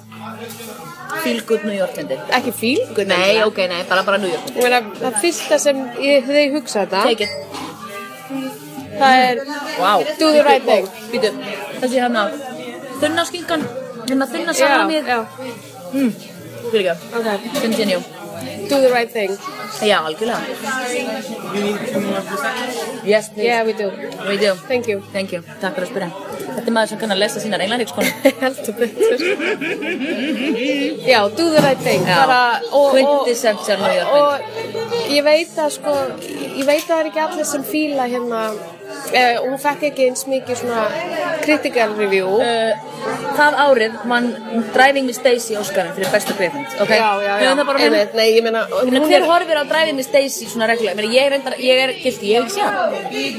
[SPEAKER 3] Feel good New York myndi
[SPEAKER 4] Ekki fílgur.
[SPEAKER 3] Nei, ok, nei, bara bara New York myndi
[SPEAKER 4] Ég meina, það fyrsta sem ég, þau hugsa þetta,
[SPEAKER 3] Take it,
[SPEAKER 4] það er
[SPEAKER 3] wow
[SPEAKER 4] Do the right thing.
[SPEAKER 3] Býtu, þessi hérna Þunna skinkan, hérna þunna salamið
[SPEAKER 4] já,
[SPEAKER 3] Fyrir
[SPEAKER 4] ok.
[SPEAKER 3] ekki, continue
[SPEAKER 4] Do the right thing.
[SPEAKER 3] Já, algjörlega Yes, please
[SPEAKER 4] Yeah, we do.
[SPEAKER 3] We do
[SPEAKER 4] Thank you.
[SPEAKER 3] Thank you, takk fyrir að spyrja Þetta er maður sem kann að lesa sínar englaríkskonu
[SPEAKER 4] Heldur betur. Já, do the right thing.
[SPEAKER 3] Já.
[SPEAKER 4] Bara, og,
[SPEAKER 3] Quintessential New York
[SPEAKER 4] og, og ég veit að sko, ég veit að það er ekki allir sem fíla hérna, eh, hún fekk ekki eins mikið svona critical review.
[SPEAKER 3] uh, Það árið mann Driving with Stacey Óskarinn fyrir bestu kveikmynd okay?
[SPEAKER 4] Já, já, já.
[SPEAKER 3] Höfum það bara með
[SPEAKER 4] Einmitt, Nei, ég meina,
[SPEAKER 3] Ég meina, hver horfir á Driving with Stacey svona reglulega? Ég meina, ég er reyndar, ég er gildi, ég hef ekki séð hana.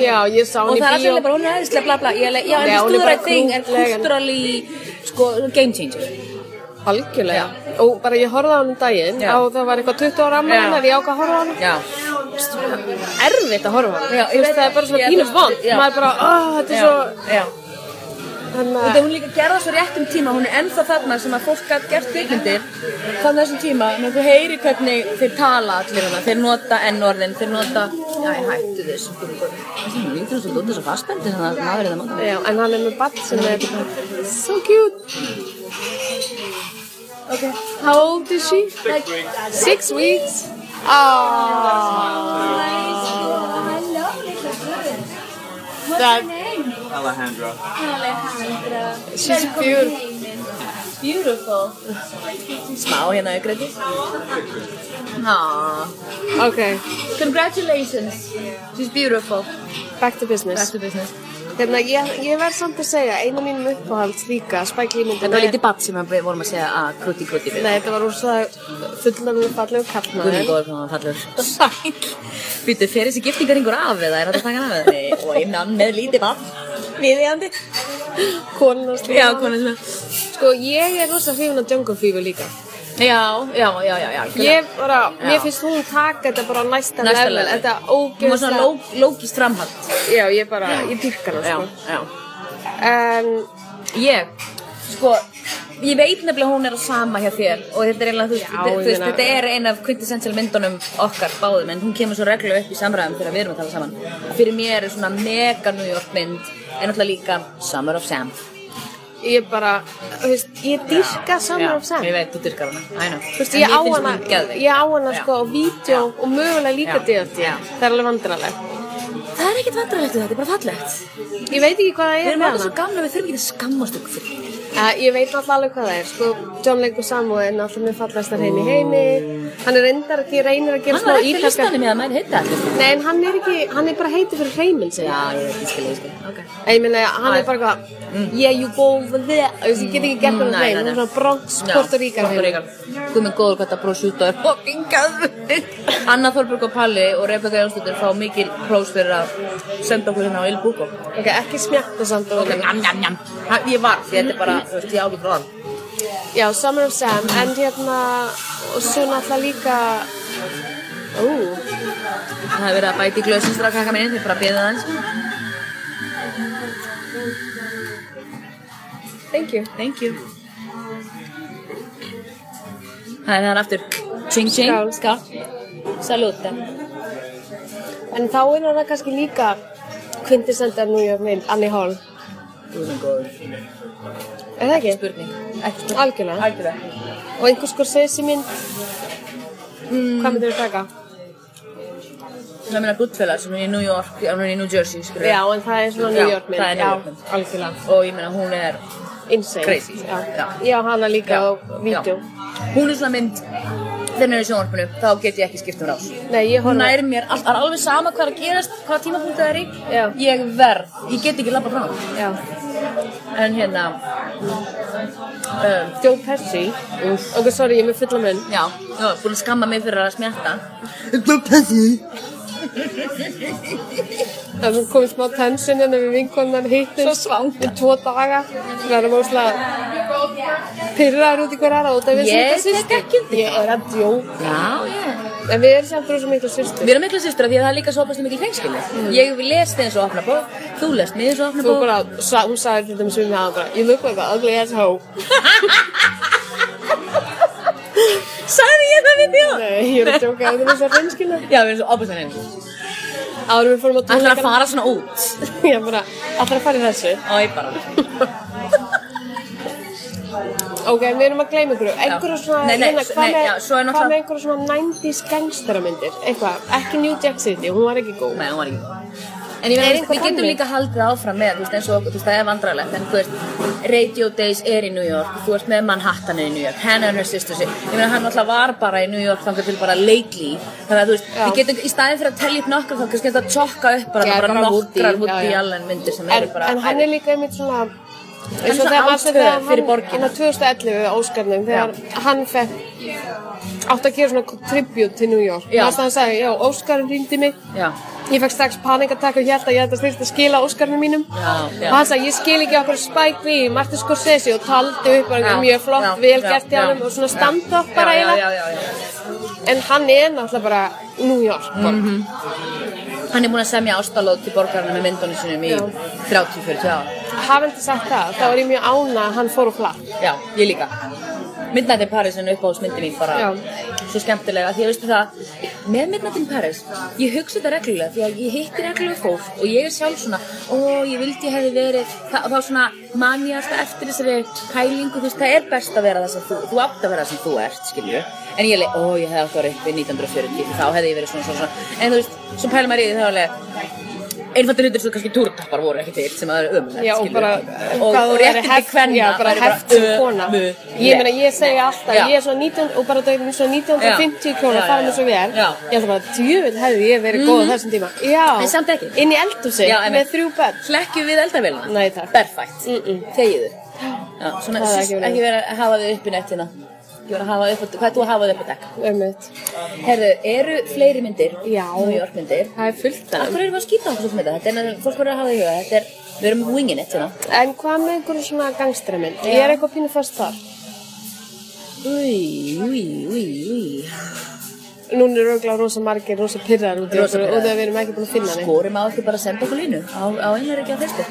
[SPEAKER 4] Já, ég sá
[SPEAKER 3] Og
[SPEAKER 4] hann í
[SPEAKER 3] það er alltaf
[SPEAKER 4] bíó.
[SPEAKER 3] bara, hún er aðeinslega, bla bla, ég er leið, já, en
[SPEAKER 4] Nei, hún er
[SPEAKER 3] þú
[SPEAKER 4] bara
[SPEAKER 3] rætt þing, en
[SPEAKER 4] krúttleg, en-
[SPEAKER 3] kulturali, sko, game changer.
[SPEAKER 4] Algjörlega. Og bara ég horfði á hann um daginn
[SPEAKER 3] Já.
[SPEAKER 4] og það var eitthvað 20 ára ammali
[SPEAKER 3] Já.
[SPEAKER 4] hennar, ég ákvað að horfa á hann.
[SPEAKER 3] Já,
[SPEAKER 4] Erfitt að horfa á hann.
[SPEAKER 3] Já, ég
[SPEAKER 4] Þú veist,
[SPEAKER 3] veit
[SPEAKER 4] það
[SPEAKER 3] það.
[SPEAKER 4] er bara svona
[SPEAKER 3] Ég-
[SPEAKER 4] pínu vond.
[SPEAKER 3] Já.
[SPEAKER 4] Maður er bara, oh,
[SPEAKER 3] já,
[SPEAKER 4] þetta er svo... hérna,
[SPEAKER 3] já.
[SPEAKER 4] Þannig
[SPEAKER 3] Þú
[SPEAKER 4] að...
[SPEAKER 3] veit, hún líka gerða svo réttum tíma, hún er ennþá þarna sem að fólk gætt gert kvikmyndir þannig þessum tíma, menn þú heyri hvernig þeir tala allir hana, þeir nota n-orðin, þeir nota, já, hættu þessu, þú veist, það lítur þessu lúta þessu fastbendi, þannig að maður er það nota.
[SPEAKER 4] Já, en hann er með badd sem er so cute. Okay. How old is she? Like six weeks. Ah. That
[SPEAKER 5] Alejandro.
[SPEAKER 4] she's beautiful.
[SPEAKER 3] Beautiful. Smá hérna í greiði. Ah,
[SPEAKER 4] Okay,
[SPEAKER 3] congratulations, she's beautiful.
[SPEAKER 4] back to business.
[SPEAKER 3] Back to business.
[SPEAKER 4] Hérna, ég, ég verð samt að segja, eina mínum uppáhalds líka, Spike Lee myndin
[SPEAKER 3] Þetta var lítið batt sem við vorum að segja "Ah, að kruti kruti við.
[SPEAKER 4] Nei, þetta var úr það fullnafnum fallegu
[SPEAKER 3] Guðni
[SPEAKER 4] kallmaður.
[SPEAKER 3] góður hvað hann fallur Sæl Býtu, fer þessi giftingaringur af eða er þetta að taka hann af eða? Nei, og ég nann með lítið vatn Viðjandi
[SPEAKER 4] Konan hans
[SPEAKER 3] Já, konan sem
[SPEAKER 4] Sko, ég er rosa hrifin af Django Fever líka.
[SPEAKER 3] Já, já, já, já, já algjörlega.
[SPEAKER 5] Ég bara,
[SPEAKER 3] Já.
[SPEAKER 5] mér finnst hún taka þetta bara á næsta,
[SPEAKER 3] Næsta
[SPEAKER 5] level,
[SPEAKER 3] level.
[SPEAKER 5] þetta
[SPEAKER 3] Hún var
[SPEAKER 5] ógeðslega,
[SPEAKER 3] svona ló- lókist framhald
[SPEAKER 5] já ég bara, ég dýrka hana
[SPEAKER 3] Já,
[SPEAKER 5] sko.
[SPEAKER 3] já
[SPEAKER 5] En,
[SPEAKER 3] Ég, sko Ég veit nefnilega að hún er á sama hjá þér og þetta er eiginlega, þú veist,
[SPEAKER 5] Já,
[SPEAKER 3] þú
[SPEAKER 5] ég
[SPEAKER 3] veist,
[SPEAKER 5] meina-
[SPEAKER 3] þetta er ein af quintessential myndunum okkar báðum en hún kemur svo reglulega upp í samræðum þegar við erum að tala saman. Fyrir mér er svona mega New York mynd en alltaf líka Summer of Sam.
[SPEAKER 5] ég bara, þú veist, ég dýrka saman
[SPEAKER 3] Já,
[SPEAKER 5] af sem
[SPEAKER 3] Ég veit, þú dyrkar hana, I know.
[SPEAKER 5] Þú veist,
[SPEAKER 3] En
[SPEAKER 5] ég á
[SPEAKER 3] mér finnst
[SPEAKER 5] hana,
[SPEAKER 3] hún geðveik.
[SPEAKER 5] ég á hana
[SPEAKER 3] Já.
[SPEAKER 5] sko á vídeo og mögulega líka
[SPEAKER 3] Já.
[SPEAKER 5] DFT.
[SPEAKER 3] Já.
[SPEAKER 5] Það er alveg vandrarlegt.
[SPEAKER 3] Það er ekkert vandrarlegt við þetta, þetta er bara fallegt.
[SPEAKER 5] Ég veit ekki hvað það
[SPEAKER 3] Við
[SPEAKER 5] er
[SPEAKER 3] erum
[SPEAKER 5] með
[SPEAKER 3] alltaf svo
[SPEAKER 5] hana.
[SPEAKER 3] gamla, við þurfum ekki að skammast okkur fyrir því.
[SPEAKER 5] Uh, ég veit alltaf alveg hvað það er, sko, John Legu Samuel er náttúrulega mjög fallast að heim í heimi. Hann er reyndar ekki, reynir að gera
[SPEAKER 3] Hann var
[SPEAKER 5] smá
[SPEAKER 3] ekki
[SPEAKER 5] ítakar.
[SPEAKER 3] listanum í að mæri heita allir.
[SPEAKER 5] Nei, en hann er ekki, hann er bara heiti fyrir hreiminn sig.
[SPEAKER 3] Já, ég veit, ég skil, ég skil. Ok.
[SPEAKER 5] En ég meina, hann
[SPEAKER 3] Æ.
[SPEAKER 5] er bara eitthvað, yeah, you go over there. Þú veist, ég get ekki gert
[SPEAKER 3] Mm,
[SPEAKER 5] hann
[SPEAKER 3] nei,
[SPEAKER 5] hreim,
[SPEAKER 3] nei,
[SPEAKER 5] hann
[SPEAKER 3] nei.
[SPEAKER 5] er svona Bronx, Porto Ríkar.
[SPEAKER 3] Porto Ríkar. Guð minn góður hvað þetta prosjúta er fucking gæðvitt. Anna Þorberg og Palli og Rebecca Jónsdóttir fá mikil prós fyrir að senda okkur hérna á Il Buco.
[SPEAKER 5] Ok, ekki smjakta samt og
[SPEAKER 3] Ok, njam, njam, njam. Ha, Ég var, því þetta er bara, þú veist, ég ábyggur frá hann.
[SPEAKER 5] Já, Summer of Sam, en hérna, og svo náttúrulega líka, ó,
[SPEAKER 3] Það hefur verið að bæti í glösin strax kakka minn, þið bara beðið aðeins.
[SPEAKER 5] thank you.
[SPEAKER 3] Thank you. Það er það aftur. Ching, ching.
[SPEAKER 5] Skál.
[SPEAKER 3] Skál. Saluta.
[SPEAKER 5] En þá er hana kannski líka kvintessenda New York mynd, Annie Hall,
[SPEAKER 3] Guð minn góður.
[SPEAKER 5] er það ekki?
[SPEAKER 3] Spurning. Ekki spurning.
[SPEAKER 5] Algjörlega.
[SPEAKER 3] Algjörlega.
[SPEAKER 5] Og einhvers skor sessi mynd, hvað myndir þú taka?
[SPEAKER 3] Það meina Goodfellas, hún er í New York, hún er í New Jersey, skilur.
[SPEAKER 5] Já, en það er svona New
[SPEAKER 3] Já,
[SPEAKER 5] York mynd.
[SPEAKER 3] það er New York mynd.
[SPEAKER 5] Já, algjörlega.
[SPEAKER 3] og ég meina hún er
[SPEAKER 5] Insane.
[SPEAKER 3] Crazy.
[SPEAKER 5] Já,
[SPEAKER 3] Já.
[SPEAKER 5] já hana líka á vídeo.
[SPEAKER 3] Já. hún er svona mynd þegar hún er í sjónvarpinu þá get ég ekki skipt um rás
[SPEAKER 5] Nei, ég
[SPEAKER 3] hún
[SPEAKER 5] horfa.
[SPEAKER 3] er mér all, það er alveg sama hvað er að gerast hvaða tímapunkt það er í
[SPEAKER 5] Já.
[SPEAKER 3] ég verð ég get ekki labba frá henni.
[SPEAKER 5] Já.
[SPEAKER 3] en hérna um,
[SPEAKER 5] Joe Pesci. Ok, sorry, ég er með fulla mun.
[SPEAKER 3] já já búin að skamma mig fyrir að smjatta
[SPEAKER 5] Það er komið smá tension hérna við vinkonar hittum
[SPEAKER 3] Svo svangt.
[SPEAKER 5] Í tvo daga Við erum óslega Pirraður út í hver aðra út af við
[SPEAKER 3] Ég
[SPEAKER 5] erum svona
[SPEAKER 3] tek ekki undir
[SPEAKER 5] systur Ég er að djóka
[SPEAKER 3] já já
[SPEAKER 5] En við erum samt rosa mikla systur
[SPEAKER 3] Við erum mikla sýstra því að það er líka svo opnast mikil hreinskilni. Ég lest þið eins og opna bók, þú lest mig eins og opna
[SPEAKER 5] Mm. Þú
[SPEAKER 3] bók.
[SPEAKER 5] bara, sa, hún sagði til dæmis við mig aðra bara You look like an ugly asshole [laughs]
[SPEAKER 3] Sagði ég það við þjóð?
[SPEAKER 5] Nei, [laughs] ég er að djóka að það er þess að reynskina
[SPEAKER 3] Já, við erum svo opnast henni.
[SPEAKER 5] Árum við fórum á
[SPEAKER 3] Það er að
[SPEAKER 5] tónleikana
[SPEAKER 3] fara svona út.
[SPEAKER 5] Ég bara, allra að fara í þessu
[SPEAKER 3] Æ, bara.
[SPEAKER 5] Ok, en við erum að gleyma ykkur Einhverja svona,
[SPEAKER 3] Nei, nei,
[SPEAKER 5] hérna,
[SPEAKER 3] s-
[SPEAKER 5] hvað
[SPEAKER 3] nei, já, svo er
[SPEAKER 5] með- hvað með
[SPEAKER 3] náttúrulega-
[SPEAKER 5] einhverja svona 90s gangsteramyndir Eitthvað, ekki New Jack City, hún var ekki góð
[SPEAKER 3] Nei, hún var ekki góð. En ég
[SPEAKER 5] Er
[SPEAKER 3] meina,
[SPEAKER 5] eitthvað
[SPEAKER 3] við getum
[SPEAKER 5] þannig?
[SPEAKER 3] líka haldið áfram með, þú veist, eins og, þú veist, það er vandrarlegt, en þú veist, Radio Days er í New York, þú ert með Manhattan er í New York, Hannah and her sisters, er- ég meina, hann alltaf var bara í New York þangar til bara lately, þannig að, þú veist,
[SPEAKER 5] Já.
[SPEAKER 3] við getum, í staðin fyrir að tellja upp nokkra, þá kannski þetta tjokka upp bara,
[SPEAKER 5] Já,
[SPEAKER 3] það er bara
[SPEAKER 5] bara Woody,
[SPEAKER 3] nokkrar
[SPEAKER 5] já,
[SPEAKER 3] Woody
[SPEAKER 5] já.
[SPEAKER 3] Allen myndir sem
[SPEAKER 5] en,
[SPEAKER 3] eru bara,
[SPEAKER 5] en hann er líka einmitt svona
[SPEAKER 3] er
[SPEAKER 5] eins og
[SPEAKER 3] svona
[SPEAKER 5] þegar
[SPEAKER 3] ástföður
[SPEAKER 5] þegar
[SPEAKER 3] fyrir borgina.
[SPEAKER 5] hann á 2011 Óskarnum þegar hann fekk átt að gera svona tribute til New York
[SPEAKER 3] Já.
[SPEAKER 5] þannig að hann sagði, já, Óskarinn ringdi mig
[SPEAKER 3] já,
[SPEAKER 5] ég fekk strax panikatakk og held að ég held að styrst að skila Óskarnum mínum
[SPEAKER 3] Já, já.
[SPEAKER 5] og hann sagði, ég skil ekki okkur Spike Lee Martin Scorsese og taldi upp bara
[SPEAKER 3] Já,
[SPEAKER 5] mjög flott,
[SPEAKER 3] já,
[SPEAKER 5] vel
[SPEAKER 3] já,
[SPEAKER 5] gert hjá
[SPEAKER 3] já.
[SPEAKER 5] hann og svona standa upp bara
[SPEAKER 3] já, já,
[SPEAKER 5] eiginlega
[SPEAKER 3] já, já, já.
[SPEAKER 5] en hann er náttúrulega bara New York mm
[SPEAKER 3] Mhm.
[SPEAKER 5] -hmm.
[SPEAKER 3] Hann er búin að semja ástalóð til borgarna með myndunum sinum í
[SPEAKER 5] Já.
[SPEAKER 3] 30-40 ára.
[SPEAKER 5] hafandi sagt það, þá er ég mjög ána að hann fór og hlatt
[SPEAKER 3] Já, ég líka Midnight in Paris er uppáhaldsmyndin mín bara
[SPEAKER 5] Já.
[SPEAKER 3] svo skemmtilega því að veistu það með Midnight in Paris, ég hugsa þetta reglulega því að ég hitti reglulega fólk og ég er sjálf svona ó, ég vildi ég hefði verið Þa, og þá svona man ég alltaf eftir þessari pælingu, þú veist, það er best að vera það sem þú þú átt að vera það sem þú ert, skilju en ég leið, ó, ég hefði átt að vera uppi 1940 þá hefði ég verið svona, svona, svona en þú veist, svo pælum maður í því þá er alveg einfaldur hlutur sem kannski túrtappar voru ekki til sem að það eru ömulegt
[SPEAKER 5] Já, og
[SPEAKER 3] skilurðu.
[SPEAKER 5] bara,
[SPEAKER 3] og,
[SPEAKER 5] hvað
[SPEAKER 3] og
[SPEAKER 5] þú væri
[SPEAKER 3] réttindi
[SPEAKER 5] heft-
[SPEAKER 3] kvenna
[SPEAKER 5] já, bara
[SPEAKER 3] væri
[SPEAKER 5] heft sem kona.
[SPEAKER 3] ömurlegt.
[SPEAKER 5] Ég meina, ég segi alltaf,
[SPEAKER 3] Já.
[SPEAKER 5] ég er svona 19, og bara dæmi svona 1950
[SPEAKER 3] Já.
[SPEAKER 5] kjóla,
[SPEAKER 3] Já,
[SPEAKER 5] fara
[SPEAKER 3] já,
[SPEAKER 5] með svo vel.
[SPEAKER 3] já. Mhm.
[SPEAKER 5] Ég ætla bara, djúvel hefði ég verið góð á þessum tíma. Já.
[SPEAKER 3] En samt ekki.
[SPEAKER 5] Inn í eldhúsi,
[SPEAKER 3] Já, einmitt.
[SPEAKER 5] með þrjú börn.
[SPEAKER 3] Hlekkju við eldavélina?
[SPEAKER 5] Nei, takk.
[SPEAKER 3] Berfætt.
[SPEAKER 5] Mm -mm.
[SPEAKER 3] Þegiðu. Já, svona,
[SPEAKER 5] Það er
[SPEAKER 3] sýst,
[SPEAKER 5] ekki verið.
[SPEAKER 3] ekki verið að hafa þið upp í nettina. Ekki verið að hafa upp, hvað er þú að hafa þið upp á dekk?
[SPEAKER 5] Ömmit.
[SPEAKER 3] Herðu, eru fleiri myndir?
[SPEAKER 5] Já.
[SPEAKER 3] New York myndir.
[SPEAKER 5] Það er fullt af.
[SPEAKER 3] Akkur erum við að skýta okkur svolítið með þetta? Þetta er, nefnilega- fólk verður að hafa í huga, þetta er, við erum wingin it, svona.
[SPEAKER 5] En hvað með einhverju svona gangstramynd? Ég er eitthvað pínu fast þar.
[SPEAKER 4] Új, új, új, új.
[SPEAKER 5] Núna er örgulega rosa margir, rosa pyrrar út í
[SPEAKER 4] Rosa
[SPEAKER 5] okkur og
[SPEAKER 4] pirraðir.
[SPEAKER 5] það við erum ekki búin að finna neitt.
[SPEAKER 4] Skorum á ekki bara að senda okkur línu á, á einhverjum ekki á Facebook.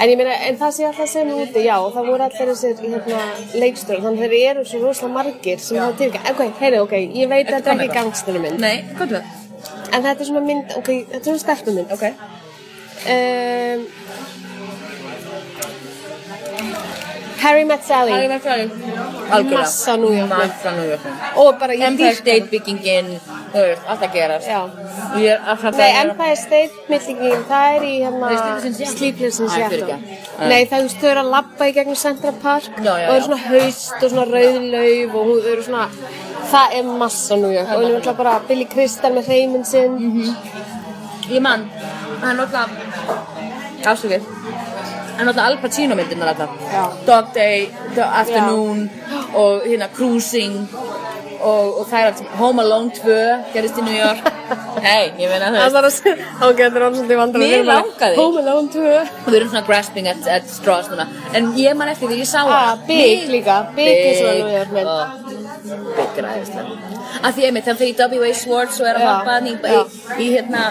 [SPEAKER 5] En ég meina, en það sé alltaf að segja mig úti, já, það voru allir þessir hérna, leikstur, þannig að þeir eru svo rosalega margir sem hafa tilgjað, ok, heyri, ok, ég veit að þetta er ekki gangstunum minn,
[SPEAKER 4] Nei, gott við.
[SPEAKER 5] en þetta er svona mynd, ok, þetta er svona stelpum mynd,
[SPEAKER 4] Ok.
[SPEAKER 5] Um, Harry Met Sally,
[SPEAKER 3] Það er verið
[SPEAKER 4] Algjörlega.
[SPEAKER 5] massa nújöfnum
[SPEAKER 3] Massa nújöfnum
[SPEAKER 5] og bara ég
[SPEAKER 3] Empire
[SPEAKER 5] dýrka
[SPEAKER 3] State byggingin Þú veist, allt að gerast
[SPEAKER 5] Já.
[SPEAKER 3] Og Ég er alltaf
[SPEAKER 5] Nei, Empire State millingin, það er í hérna Sleepless in
[SPEAKER 3] Æ,
[SPEAKER 5] Seattle
[SPEAKER 3] fyrirgefðu.
[SPEAKER 5] Nei, það þú veist, þau eru að labba í gegnum Central Park
[SPEAKER 3] Já, já,
[SPEAKER 5] og þau
[SPEAKER 3] já.
[SPEAKER 5] eru svona haust og svona rauðlauf og hún- þau eru svona Það er massa nú, og hún er alltaf bara Billy Crystal með hreiminn sinn
[SPEAKER 3] Mhm. Ég man Það er náttúrulega Afsökið Það er náttúrulega Al Pacino myndirnar
[SPEAKER 5] Já.
[SPEAKER 3] alltaf Dog Day, The Afternoon Og hérna Cruising Og, og það er allt sem Home Alone 2 gerist í New
[SPEAKER 5] [laughs]
[SPEAKER 3] York Hei, ég meina þú
[SPEAKER 5] Það
[SPEAKER 3] veist
[SPEAKER 5] var að segja, ok, þetta er alveg svolítið vandrar
[SPEAKER 3] Mig langaði.
[SPEAKER 5] Home Alone 2
[SPEAKER 3] Við erum svona grasping at, at straws núna En ég man eftir því ég sá
[SPEAKER 5] Ah,
[SPEAKER 3] hana.
[SPEAKER 5] Big líka, Big er svona
[SPEAKER 3] Big,
[SPEAKER 5] New York mynd
[SPEAKER 3] ó, Big er aðeinslega Af því einmitt, þannig þegar W.A. Swartz og er að
[SPEAKER 5] Já,
[SPEAKER 3] hoppa hann í, í, í hérna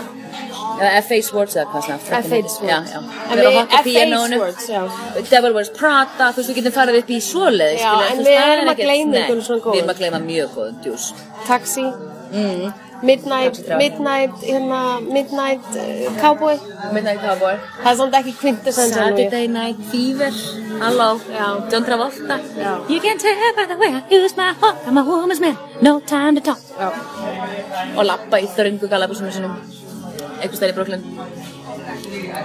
[SPEAKER 3] eða F.A. Swartz eða hvað svona
[SPEAKER 5] F.A. Swords
[SPEAKER 3] Já, já
[SPEAKER 5] En
[SPEAKER 3] Við erum að
[SPEAKER 5] við-
[SPEAKER 3] hoppa
[SPEAKER 5] F.A.
[SPEAKER 3] píanónu
[SPEAKER 5] Swords, já
[SPEAKER 3] Devil Wears Prada, þú veist, við getum farið upp í svoleiði,
[SPEAKER 5] Já, en við erum að gleyma einhverjum svona góðum.
[SPEAKER 3] Við erum að gleyma mjög góðum djús.
[SPEAKER 5] Taxi
[SPEAKER 3] Mm.
[SPEAKER 5] Midnight,
[SPEAKER 3] Taxi Driver.
[SPEAKER 5] Midnight, hérna, Midnight uh, Cowboy
[SPEAKER 3] Midnight Cowboy.
[SPEAKER 5] Það er samt ekki quintessential Louis.
[SPEAKER 3] Saturday Night Fever, halló,
[SPEAKER 5] Já.
[SPEAKER 3] John Travolta.
[SPEAKER 5] Já.
[SPEAKER 3] You can tell by the way I use my heart, I'm a woman's man, no time to talk.
[SPEAKER 5] Já.
[SPEAKER 3] Og lappa í þröngu galabúsinu sinum, einhvers stær í Brooklyn.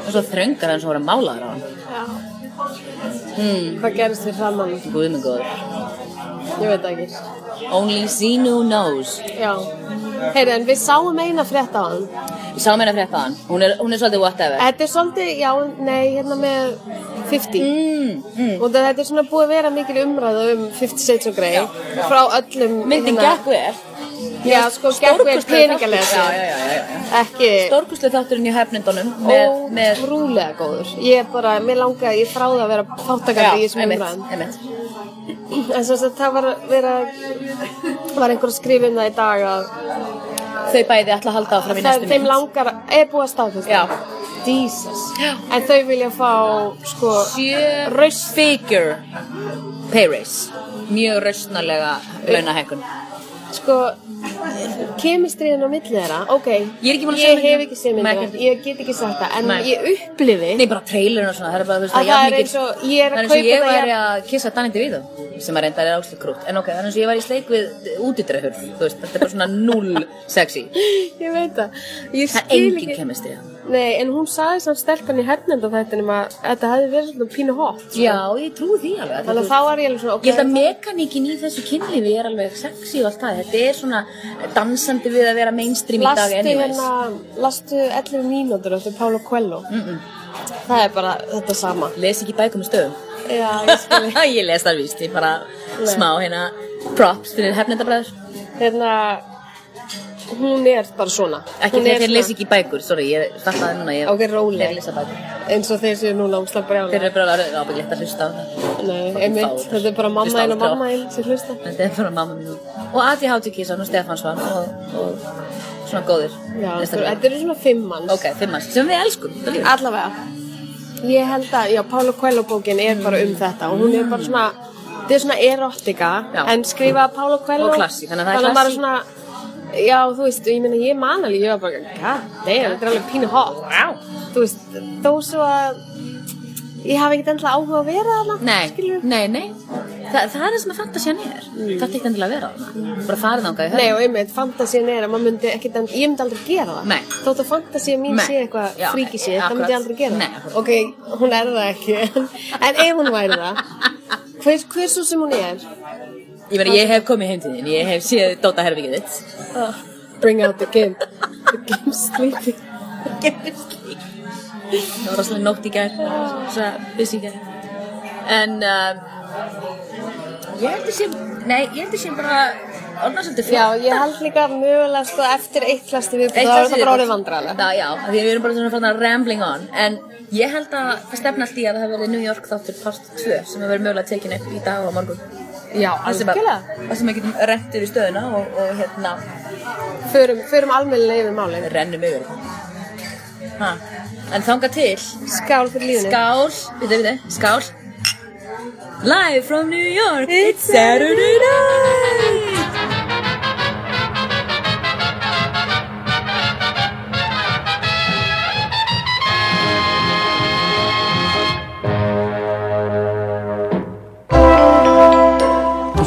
[SPEAKER 3] Og svo þröngar hann svo voru að mála þar á hann.
[SPEAKER 5] Já. Hvað gerist við hraman?
[SPEAKER 3] Guð minn góður.
[SPEAKER 5] Ég veit það ekki.
[SPEAKER 3] Only Zinu knows.
[SPEAKER 5] Já. Heyrðu, en við sáum eina frétt á hann.
[SPEAKER 3] Ég sá mér að frétta hann, hún er, hún er svolítið whatever.
[SPEAKER 5] Þetta er svolítið, já, nei, hérna með 50.
[SPEAKER 3] Mm, mm.
[SPEAKER 5] Og það- þetta er svona búið að vera mikil umræða um 50 Shades of Grey frá öllum...
[SPEAKER 3] Myndin
[SPEAKER 5] hérna-
[SPEAKER 3] gekk vel.
[SPEAKER 5] Já, sko, gekk við peningalega. sko.
[SPEAKER 3] Já,
[SPEAKER 5] séð.
[SPEAKER 3] já, já, já, já.
[SPEAKER 5] Ekki
[SPEAKER 3] Stórkustlega þátturinn í hefnindunum með, með
[SPEAKER 5] ótrúlega góður. Ég er bara, mér langaði, ég fráði að vera þáttakandi í þessum
[SPEAKER 3] einmitt,
[SPEAKER 5] umræðum.
[SPEAKER 3] einmitt.
[SPEAKER 5] En svo að það var vera, var einhver að skrifa um það í dag að
[SPEAKER 3] Þau bæði ætla að halda áfram í
[SPEAKER 5] það,
[SPEAKER 3] næstu
[SPEAKER 5] þeim langar, er búið að staðfesta.
[SPEAKER 3] Já.
[SPEAKER 5] Jesus. En þau vilja fá, sko,
[SPEAKER 3] Sjö
[SPEAKER 5] Raust.
[SPEAKER 3] figure pay raise. Mjög rausnalega launahækun.
[SPEAKER 5] sko, kemistriðin á milli þeirra, ok.
[SPEAKER 3] Ég er ekki búin að sjá
[SPEAKER 5] Ég
[SPEAKER 3] myndina.
[SPEAKER 5] hef ekki séð myndina,
[SPEAKER 3] Nei.
[SPEAKER 5] ég get ekki sagt það, en
[SPEAKER 3] Nei.
[SPEAKER 5] ég upplifi
[SPEAKER 3] Nei, bara trailerinn og svona, það er bara, þú veist,
[SPEAKER 5] að það er
[SPEAKER 3] jafnmikið-
[SPEAKER 5] eins og ég er að
[SPEAKER 3] Það er eins og
[SPEAKER 5] kaupa
[SPEAKER 3] ég
[SPEAKER 5] það
[SPEAKER 3] væri
[SPEAKER 5] jafn-
[SPEAKER 3] að kissa Danny DeVito sem að reynda er ákslega krútt en ok, það er eins og ég væri í sleik við útidrefur þú veist, þetta er bara svona null sexy
[SPEAKER 5] Ég veit það, ég
[SPEAKER 3] það er
[SPEAKER 5] skil
[SPEAKER 3] engin
[SPEAKER 5] ekki
[SPEAKER 3] kemist í það
[SPEAKER 5] Nei, en hún sagði samt stelpan í hernenda þættinum að þetta hefði verið svona pínu hot sko.
[SPEAKER 3] já, ég trúi því alveg
[SPEAKER 5] Þannig að þá var ég alveg svona, ok
[SPEAKER 3] Ég held að mekaníkin í þessu kynlífi er alveg sexy og allt það. Þetta er svona dansandi við að vera mainstream í dag
[SPEAKER 5] Lastu
[SPEAKER 3] anyways.
[SPEAKER 5] hérna, lastu 11 mínútur eftir Pála Coelho Það er bara þetta sama
[SPEAKER 3] Les ekki bækum í stöðum.
[SPEAKER 5] Já, ég skilji
[SPEAKER 3] [laughs] ég les þar víst, ég bara
[SPEAKER 5] Nei.
[SPEAKER 3] smá hérna props fyrir hefnendabræður.
[SPEAKER 5] Hérna, hún er bara svona
[SPEAKER 3] Ekki
[SPEAKER 5] Hún er
[SPEAKER 3] þegar þeir
[SPEAKER 5] svona-
[SPEAKER 3] les ekki bækur, sorry, ég fattaði núna, ég
[SPEAKER 5] Ok, róleg.
[SPEAKER 3] Þeir lesa bækur.
[SPEAKER 5] Eins og þeir séu núna ósla
[SPEAKER 3] Þeir
[SPEAKER 5] brjála
[SPEAKER 3] eru bara alveg ábygglegt að hlusta á það.
[SPEAKER 5] Nei,
[SPEAKER 3] Fucking
[SPEAKER 5] einmitt,
[SPEAKER 3] fáir.
[SPEAKER 5] þetta er bara mamma
[SPEAKER 3] Hlusta
[SPEAKER 5] þín og
[SPEAKER 3] aldrei á-
[SPEAKER 5] mamma þín sem hlusta
[SPEAKER 3] Þetta er bara mamma mín. Og Adi Hátikísan og Stefán Svan og, og svona góðir.
[SPEAKER 5] Já, þú-
[SPEAKER 3] listakar.
[SPEAKER 5] þetta eru svona fimm manns
[SPEAKER 3] Ok, fimmans, sem við elskum. þetta líka.
[SPEAKER 5] Allavega Ég held að, já, Pála Coelho bókin er bara um þetta og hún er bara svona þetta er svona erotika
[SPEAKER 3] Já.
[SPEAKER 5] en skrifaða Pála Coelho
[SPEAKER 3] Og klassík, þannig að það
[SPEAKER 5] maður
[SPEAKER 3] er klassík.
[SPEAKER 5] svona, já, þú veist, og ég meina ég man alveg, ég var bara, god damn, þetta er alveg pínu hot
[SPEAKER 3] Wow.
[SPEAKER 5] þú veist, þó svo að ég hafi ekkert endla áhuga að vera þarna
[SPEAKER 3] Nei,
[SPEAKER 5] skilurðu.
[SPEAKER 3] nei, nei Þa, Það er það sem að fantasían er Það er ekkert endilega að vera þarna Bara farið þangað í
[SPEAKER 5] Nei,
[SPEAKER 3] höfn
[SPEAKER 5] og einmitt, fantasían er að maður myndi ekkert enn, ég myndi aldrei gera það.
[SPEAKER 3] Nei.
[SPEAKER 5] Þótt að fantasían mín
[SPEAKER 3] Nei.
[SPEAKER 5] sé eitthvað
[SPEAKER 3] Já,
[SPEAKER 5] fríki sé, það
[SPEAKER 3] akkurat.
[SPEAKER 5] myndi ég aldrei gera.
[SPEAKER 3] Nei, akkurat.
[SPEAKER 5] Ok, hún er það ekki, en ef hún væri það, hver, hver svo sem hún er,
[SPEAKER 3] Ég verið, ég hef komið heim til þín Ég hef séð Dóta herfingið þitt
[SPEAKER 5] bring out the game. The game's sleeping.
[SPEAKER 3] Það var rosalega nótt í gær Svo buss í gær En uh, Ég held að sé Nei, ég held að sé bara Orðna svolítið
[SPEAKER 5] Já, ég held líka mögulega sko eftir eitt lasti við,
[SPEAKER 3] Eitt
[SPEAKER 5] þá er
[SPEAKER 3] lag
[SPEAKER 5] það
[SPEAKER 3] síður.
[SPEAKER 5] bara orðið vandrarlega.
[SPEAKER 3] Já, já, af því við erum bara svona farin að rambling on En ég held að það stefna allt í að það hafi verið New York þáttur part 2 sem hefur verið mögulega tekin upp í dag og á morgun
[SPEAKER 5] Já,
[SPEAKER 3] Það sem að-
[SPEAKER 5] algjörlega.
[SPEAKER 3] það sem að getum rent yfir stöðuna og, og hérna
[SPEAKER 5] Förum, förum almennilega yfir málið.
[SPEAKER 3] rennum yfir ha. en þanga til
[SPEAKER 5] Skál fyrir lífinu.
[SPEAKER 3] skál, við þau, við þau, skál live from New York it's Saturday night
[SPEAKER 1] Þú